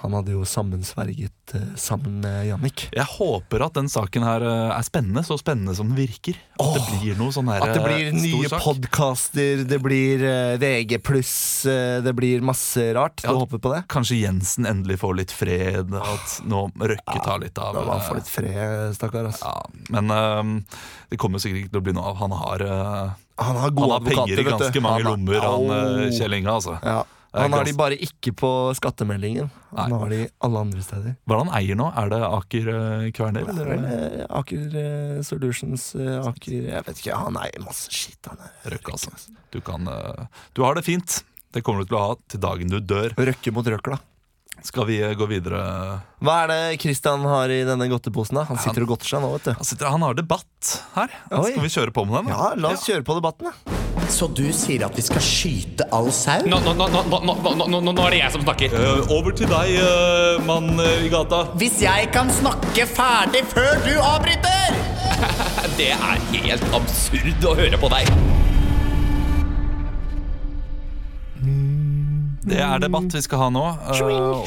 B: han hadde jo sammensverget eh, sammen med Jannik.
A: Jeg håper at den saken her eh, er spennende, så spennende som den virker. At det
B: Åh,
A: blir noe sånn her,
B: At det
A: eh,
B: blir
A: stor
B: nye
A: sak.
B: podkaster, det blir eh, VG pluss, eh, det blir masse rart.
A: Ja.
B: Du håper på det?
A: Kanskje Jensen endelig får litt fred, at nå Røkke tar litt av
B: Da må han
A: eh,
B: få litt fred, stakkar. ass.
A: ja, Men eh, det kommer sikkert ikke til å bli noe av. Han har, eh,
B: Han har
A: han
B: gode
A: har
B: advokater,
A: penger i
B: vet du.
A: ganske mange
B: Han
A: lommer,
B: har-
A: han eh,
B: Au.
A: Kjell Inge. Altså.
B: Ja.
A: er
B: Han har
A: ganske-
B: de bare ikke på skattemeldingen. Han
A: Nei.
B: har de alle andre steder.
A: Hva er det han eier nå? Er det Aker eh, Kværner?
B: Det er vel eh, Aker eh, Solutions, eh, Aker Jeg vet ikke, han eier masse skitt, han er.
A: Røkke, altså. Du, kan, eh, du har det fint. Det kommer du til å ha til dagen du dør.
B: Røkke mot røkla.
A: Skal vi eh, gå videre?
B: Hva er det Christian har i denne godteposen, da? Han sitter og godter seg nå, vet du.
A: Han, sitter, han har debatt her.
B: Oi.
A: Skal vi kjøre på med den?
B: Ja, la oss kjøre på debatten, da.
F: Så du sier at vi skal skyte all sau?
D: Nå, nå, nå, nå, nå, nå, nå, nå, nå er det jeg som snakker.
A: Eh, over til deg, eh, mann eh, i gata.
F: Hvis jeg kan snakke ferdig før du avbryter!
D: Det er helt absurd å høre på deg.
A: Det er debatt vi skal ha nå. eh,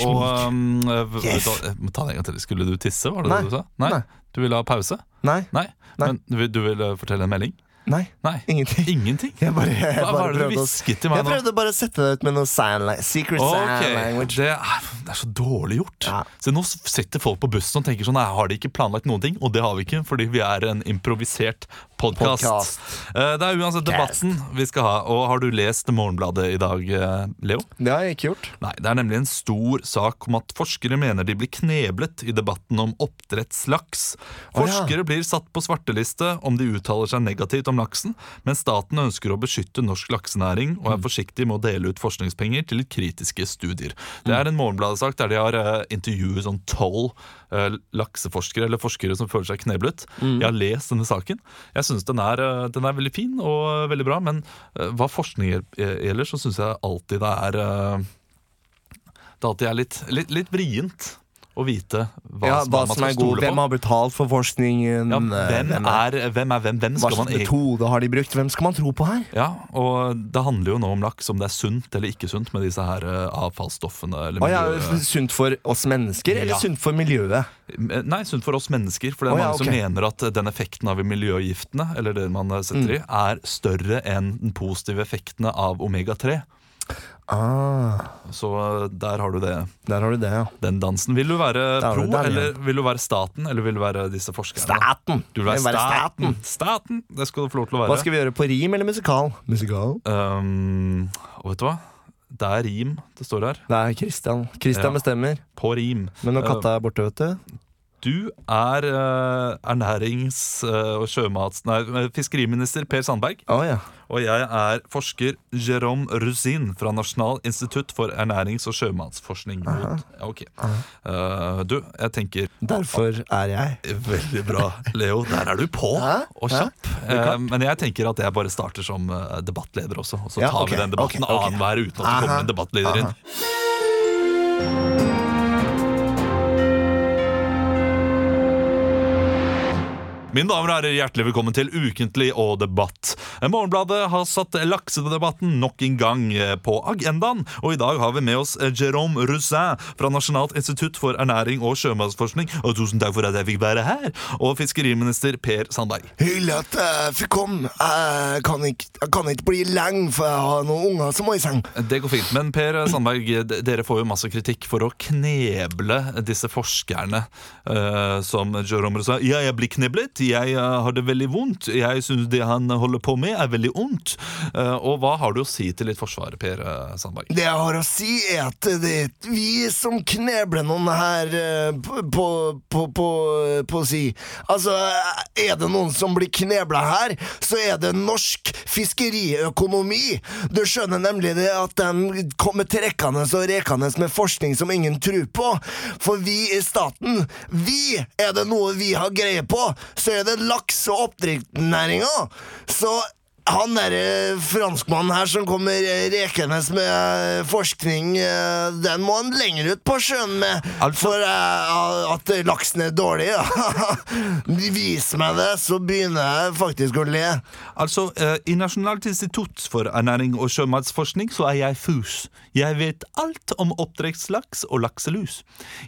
A: og um, yes. Ta det en gang til. Skulle du tisse, var det
B: Nei.
A: det du sa? Nei.
B: Nei.
A: Du ville ha pause?
B: Nei.
A: Nei.
B: Nei.
A: Men du, vil- du ville fortelle en melding?
B: Nei.
A: Nei.
B: Ingenting.
A: Ingenting?
B: Jeg bare, jeg
A: Hva
B: bare
A: var det du
B: prøvde å-
A: hvisket til meg
B: Jeg
A: nå?
B: prøvde bare å sette deg ut med noe sign la- secret
A: Ok,
B: sign language.
A: det er, det er så dårlig gjort.
B: Ja.
A: Se, Nå sitter folk på bussen og tenker sånn Nei, har de ikke planlagt noen ting? Og det har vi ikke, fordi vi er en improvisert podkast.
B: Podcast.
A: Det er uansett debatten vi skal ha. Og har du lest Morgenbladet i dag, eh, Leo?
B: Det har jeg ikke gjort.
A: Nei, det er nemlig en stor sak om at forskere mener de blir kneblet i debatten om oppdrettslaks. Forskere blir satt på svarteliste om de uttaler seg negativt om laksen, men staten ønsker å beskytte norsk laksenæring og er forsiktig med å dele ut forskningspenger til kritiske studier. Det er en Morgenbladet-sak der de har eh, intervjuet sånn tolv eh, lakseforskere eller forskere som føler seg kneblet. Jeg har lest denne saken. Jeg syns den, er, eh, den er veldig fin og eh, veldig bra, men eh, hva forskning gjel- gjelder, så syns jeg alltid det er eh, det alltid er litt, litt, litt vrient å vite hva,
B: Ja,
A: som-
B: hva
A: hva man
B: som
A: skal
B: er god,
A: stole
B: hvem
A: på.
B: har betalt for forskningen?
A: Ja,
B: eh,
A: hvem, er, hvem er hvem? Hvem
B: hva
A: skal man
B: slags
A: egentlig
B: metode har de brukt? Hvem skal man tro på her?
A: ja, og Det handler jo nå om laks, om det er sunt eller ikke sunt med disse her eh, avfallsstoffene. Eller
B: Å, ja,
A: miljø-
B: sunt for oss mennesker, eller
A: Ja.
B: sunt for miljøet?
A: Eh, Nei, sunt for oss mennesker. For det er
B: Å, ja,
A: mange som
B: ok.
A: mener at den effekten av miljøgiftene eller det man eh, setter i,
B: Mm.
A: er større enn den positive effektene av omega-3.
B: Ah,
A: Så eh, der har du det.
B: der har du det, ja.
A: den dansen. Vil du være
B: Der,
A: pro,
B: der, ja.
A: eller vil du være staten, eller vil du være disse forskerne?
B: Staten.
A: Du vil være
B: Jeg vil være
A: staten. Mm. staten! Det skal du få lov til å
B: Hva
A: være.
B: skal vi gjøre på rim eller musikal? Musikal?
A: Um, og vet du hva? Det er rim det står her.
B: Det er Christian. Christian
A: Ja.
B: bestemmer.
A: På rim.
B: Men når
A: Eh,
B: katta er borte, vet du
A: Du er eh, ernærings- eh, og sjømats... Nei, eh, fiskeriminister Per Sandberg.
B: Å ja.
A: Og jeg er forsker Jérôme Rusin fra Nasjonal institutt for ernærings- og sjømatsforskning. Ja, Ok. Eh, du, jeg tenker
B: Derfor er jeg
A: Veldig bra, Leo. Der er du på
B: Hæ?
A: og
B: Hæ?
A: kjapp. Eh, men jeg tenker at jeg bare starter som eh, debattleder også, og så tar
B: Ja, ok,
A: vi den debatten
B: ok, ok.
A: annenhver uten at det kommer en debattleder inn. Mine damer og herrer, hjertelig velkommen til Ukentlig og debatt. Morgenbladet har satt laksedebatten nok en gang eh, på agendaen. Og i dag har vi med oss eh, Jérôme Roussin fra Nasjonalt institutt for ernæring og sjømatsforskning. Og tusen takk for at jeg fikk være her. Og fiskeriminister Per Sandberg.
B: Hyggelig at jeg fikk komme. Jeg kan ikke, jeg kan ikke bli lenge, for jeg har noen unger som må i seng.
A: Det går fint, men Per Sandberg, d- dere får jo masse kritikk for å kneble disse forskerne eh, som Jerome sa. Ja, jeg blir kneblet, jeg eh, har det veldig vondt, jeg synes det han holder på med er veldig ondt. Eh, og hva har du å si til litt forsvaret, Per eh, Sandberg?
B: Det jeg har å si, er at det er ikke vi som knebler noen her eh, på, på, på, på, på å si. Altså, er det noen som blir knebla her, så er det norsk fiskeriøkonomi. Du skjønner nemlig det at de kommer trekkende og rekende med forskning som ingen tror på. For vi i staten, vi er det noe vi har greie på, så er det lakse- og oppdrettsnæringa. Så han derre franskmannen her som kommer eh, rekende med eh, forskning, eh, den må han lenger ut på sjøen med. For eh, at laksen er dårlig, ja. Vis meg det, så begynner jeg faktisk å le.
A: Altså, eh, I Nasjonalt institutt for ernæring og sjømatsforskning så er jeg fus. Jeg vet alt om oppdrettslaks og lakselus.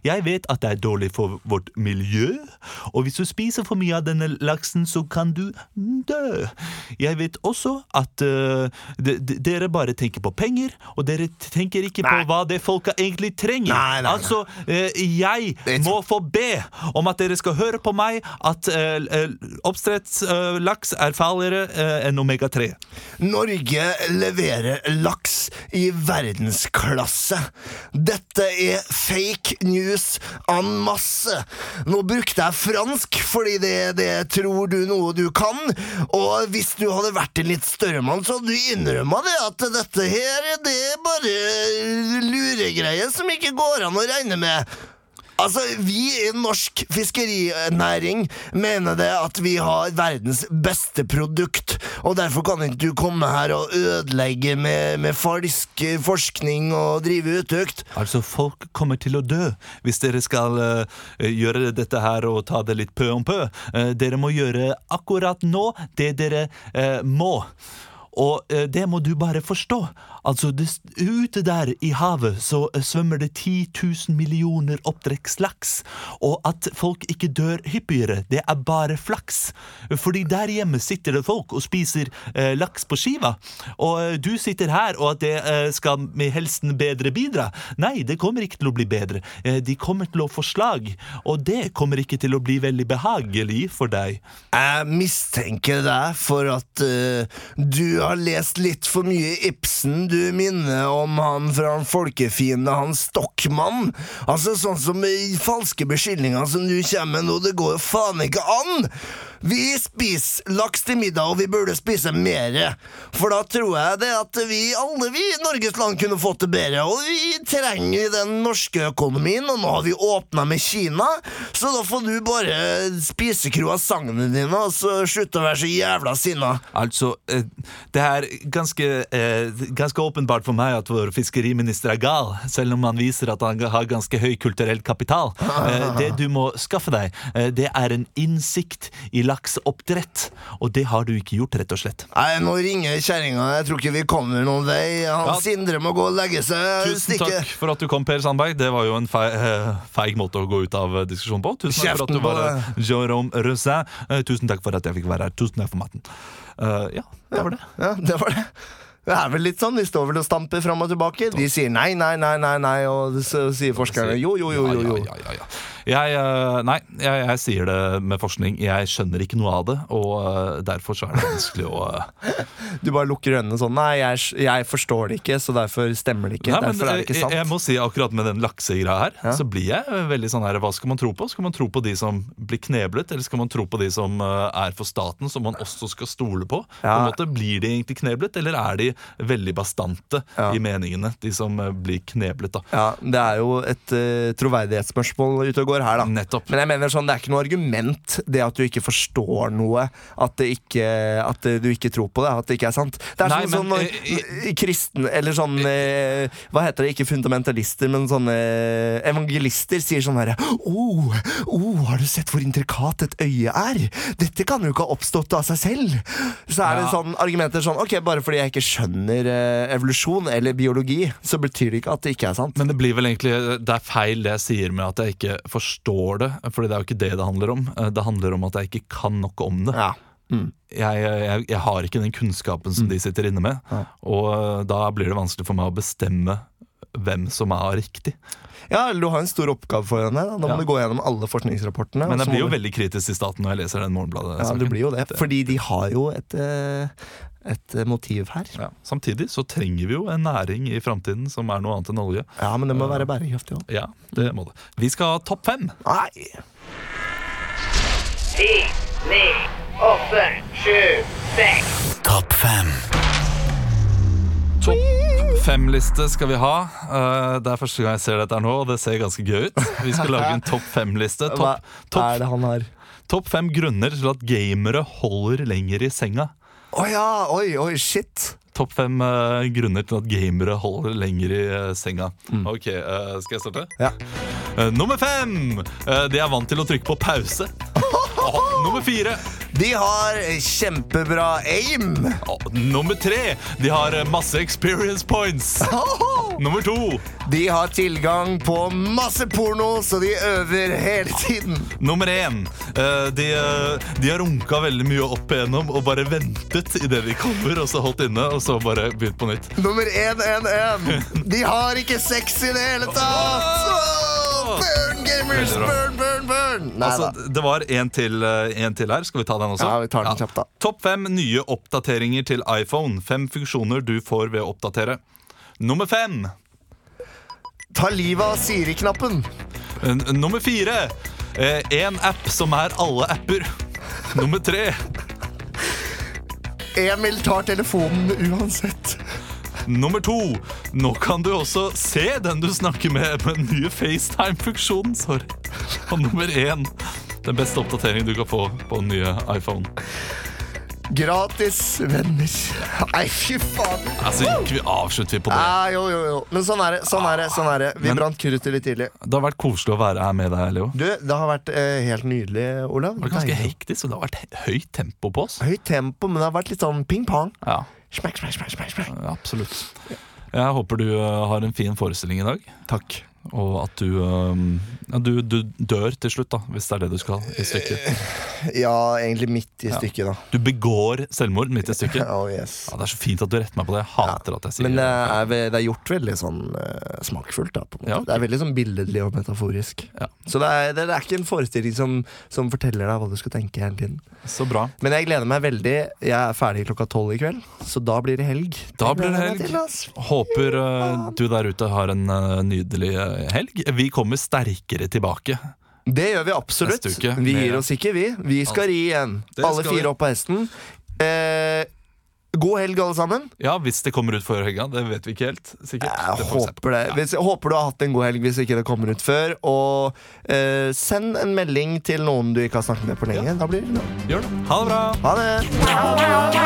A: Jeg vet at det er dårlig for vårt miljø, og hvis du spiser for mye av denne laksen, så kan du dø. Jeg vet også at eh, de, de, dere bare tenker på penger, og dere tenker ikke på hva det folka egentlig trenger.
B: Nei, nei, nei.
A: Altså, eh, jeg
B: er
A: må få be om at dere skal høre på meg at eh, eh, oppdrettslaks er farligere eh, enn omega-3.
B: Norge leverer laks i verdensklasse. Dette er fake news en masse. Nå brukte jeg fransk, fordi det, det tror du noe du kan. Og hvis du hadde vært en litt større mann, så hadde du innrømma det at dette her, det er bare luregreier som ikke går an å regne med. Altså, Vi i norsk fiskerinæring mener det at vi har verdens beste produkt, og derfor kan ikke du komme her og ødelegge med, med falsk eh, forskning og drive utukt.
A: Altså, folk kommer til å dø hvis dere skal eh, gjøre dette her og ta det litt pø om pø. Eh, dere må gjøre akkurat nå det dere eh, må. Og eh, det må du bare forstå. Altså, det, s- ute der i havet så eh, svømmer det 10 000 millioner oppdrettslaks. Og at folk ikke dør hyppigere, det er bare flaks. Fordi der hjemme sitter det folk og spiser eh, laks på skiva. Og eh, du sitter her, og at det eh, skal med helsen bedre bidra. Nei, det kommer ikke til å bli bedre. Eh, de kommer til å få slag. Og det kommer ikke til å bli veldig behagelig for deg.
B: Jeg mistenker deg for at eh, du har lest litt for mye Ibsen. Du minner om han fra han folkefiende, han Stockmann. Altså sånn som i falske beskyldninger som du kommer med nå, det går jo faen ikke an! Vi spiser laks til middag, og vi burde spise mere. For da tror jeg det at vi alle vi i Norges land kunne fått det bedre, og vi trenger den norske økonomien, og nå har vi åpna med Kina, så da får du bare spise croissantene dine, og så slutte å være så jævla sinna.
A: Altså, eh, det er ganske, eh, ganske åpenbart for meg at vår fiskeriminister er gal, selv om han viser at han har ganske høy kulturell kapital. Eh, det du må skaffe deg, eh, det er en innsikt i lakseoppdrett, og det har du ikke gjort, rett og slett.
B: Nei, nå ringer kjerringa, jeg tror ikke vi kommer noen vei. Han
A: Ja.
B: Sindre må gå og legge seg.
A: Tusen
B: Stikke.
A: takk for at du kom, Per Sandberg. Det var jo en feig, eh, feig måte å gå ut av eh, diskusjonen på. Tusen takk for at
B: Kjeften
A: du var
B: på
A: her, Jérôme Roussin. Eh, tusen takk for at jeg fikk være her. Tusen takk for maten. Eh, ja, det var det.
B: Ja, det var det. Det er vel litt sånn, De står vel og stamper fram og tilbake. De sier nei, nei, nei, nei, nei og så sier forskerne jo, jo, jo. jo, jo.
A: Ja, ja, ja, ja, ja. Jeg, eh, nei, jeg, jeg sier det med forskning. Jeg skjønner ikke noe av det, og eh, derfor så er det vanskelig å eh,
B: Du bare lukker øynene sånn Nei, jeg, jeg forstår det ikke, så derfor stemmer det ikke.
A: Nei, men,
B: derfor er det ikke
A: eh,
B: sant.
A: Jeg, jeg må si akkurat med den laksegreia her, så blir jeg eh, veldig sånn her Hva skal man tro på? Skal man tro på de som blir kneblet, eller skal man tro på de som eh, er for staten, som man også skal stole på? På en
B: Ja.
A: måte, Blir de egentlig kneblet, eller er de veldig bastante i meningene, de som eh, blir kneblet, da?
B: ja, det er jo et eh, troverdighetsspørsmål ute og går står her, da.
A: Nettopp.
B: Men jeg mener sånn, det er ikke noe argument, det at du ikke forstår noe. At, det ikke, at du ikke tror på det. At det ikke er sant. Det er
A: Nei,
B: sånn,
A: men, eh,
B: sånn når kristen, eller sånn eh, Hva heter det? Ikke fundamentalister, men sånne eh, evangelister sier sånn herre oh, oh, har du sett hvor intrikat et øye er? Dette kan jo ikke ha oppstått av seg selv. Så er det
A: Ja.
B: sånn argumenter sånn Ok, bare fordi jeg ikke skjønner eh, evolusjon eller biologi, så betyr det ikke at det ikke er sant.
A: Men det blir vel egentlig, det er feil det jeg sier med at jeg ikke forstår det. Fordi det er jo ikke det det handler om. Eh, Det handler om at jeg ikke kan nok om det.
B: Ja.
A: Jeg, jeg, jeg har ikke den kunnskapen
B: Mm.
A: som de sitter inne med. Og eh, da blir det vanskelig for meg å bestemme hvem som er riktig.
B: Ja, eller du har en stor oppgave foran deg. Da, da må
A: Ja.
B: du gå gjennom alle forskningsrapportene.
A: Men
B: og
A: jeg
B: så må
A: blir jo
B: du-
A: veldig kritisk til staten når jeg leser den
B: ja, du
A: Morgenbladet-saken.
B: blir jo det. Fordi de har jo et, eh, et eh, motiv her.
A: ja. Samtidig så trenger vi jo en næring i framtiden som er noe annet enn olje.
B: Ja, men det må være bærekraftig òg.
A: Ja, det må det. Vi skal ha topp fem.
B: Nei!
G: Ti, ni, åtte, sju, seks.
F: Topp fem.
A: Topp fem-liste skal vi ha. Eh, Det er første gang jeg ser dette her nå, og det ser ganske gøy ut. Vi skal lage en topp fem-liste.
B: Hva
A: Topp
B: er
A: topp-
B: det han har?
A: topp fem grunner til at gamere holder lenger i senga.
B: Å ja! Oi, oi, shit!
A: Topp fem eh, grunner til at gamere holder lenger i eh, senga. Ok, eh, skal jeg starte?
B: Mm. Ja.
A: Eh, nummer fem! Eh, de er vant til å trykke på pause. Åh, nummer fire.
B: De har kjempebra aim!
A: Åh, nummer tre. De har eh, masse experience points. Nummer to.
B: De har tilgang på masse porno, så de øver hele tiden.
A: Nummer én. eh, de, eh, de har runka veldig mye opp igjennom og bare ventet idet de kommer, og så holdt inne, og så bare begynt på nytt.
B: Nummer 111. De har ikke sex i det hele tatt! Åh, Burn, gamers!
A: Veldig bra.
B: Burn, burn, burn! Nei da.
A: Altså, det var én til, eh, en til her. Skal vi ta den også?
B: Ja, vi tar den kjapt, da.
A: Topp fem nye oppdateringer til iPhone. Fem funksjoner du får ved å oppdatere. Nummer fem.
B: Ta livet av Siri-knappen.
A: N nummer fire. Én app som er alle apper. Nummer tre.
B: Emil tar telefonen uansett.
A: Nummer to. Nå kan du også se den du snakker med med den nye FaceTime-funksjonen. Sorry. Og nummer én. Den beste oppdateringen du kan få på den nye iPhone.
B: Gratis venner. Nei, fy faen.
A: Altså, gikk vi avslutter vi på det.
B: Ah, jo, jo, jo. Men sånn er det. sånn er det, sånn er det. Vi
A: Men-
B: brant kruttet litt tidlig.
A: Det har vært koselig å være her med deg, Leo.
B: Du, Det har vært eh, helt nydelig, Olav.
A: Det var ganske
B: Deilig.
A: hektisk, og det har vært he- høyt tempo på oss.
B: Høyt tempo, men det har vært litt sånn ping-pong.
A: Ja,
B: Smack, smack, smack, smack, smack.
A: absolutt. Jeg håper du eh, har en fin forestilling i dag. Takk. Og at du, eh, ja, du, du dør til slutt, da, hvis det er det du skal. i stykket.
B: Ja, egentlig midt i stykket, da.
A: Du begår selvmord midt i stykket.
B: Oh, yes.
A: Ja, det er så fint at du retter meg på det. Jeg hater at jeg sier
B: Men det
A: det.
B: er, ve- det er gjort veldig sånn eh, smakfullt. Da, på en måte.
A: Ja, ok.
B: Det er veldig sånn billedlig og metaforisk.
A: Ja.
B: Så det er, det er ikke en forestilling som, som forteller deg hva du skal tenke hele tiden.
A: Så bra.
B: Men jeg gleder meg veldig. Jeg er ferdig klokka tolv i kveld, så da blir det helg.
A: Da blir det
B: gleder jeg meg
A: helg.
B: til, ass.
A: Håper eh, du der ute har en eh, nydelig eh, helg. Vi kommer sterkere tilbake.
B: Det gjør vi absolutt.
A: Neste uke.
B: Vi
A: Med-
B: gir oss ikke, vi. Vi skal ri igjen.
A: Det
B: Alle
A: skal vi.
B: fire opp av hesten. Eh, god helg, alle sammen.
A: Ja, hvis det kommer ut før helga. Det vet vi ikke helt sikkert.
B: Jeg
A: Det får vi se på.
B: håper det. Hvis, jeg håper du har hatt en god helg hvis ikke det kommer ut før. Og eh, send en melding til noen du ikke har snakket med på lenge. Da blir det bra.
A: Gjør det. Ha det bra.
B: Ha det!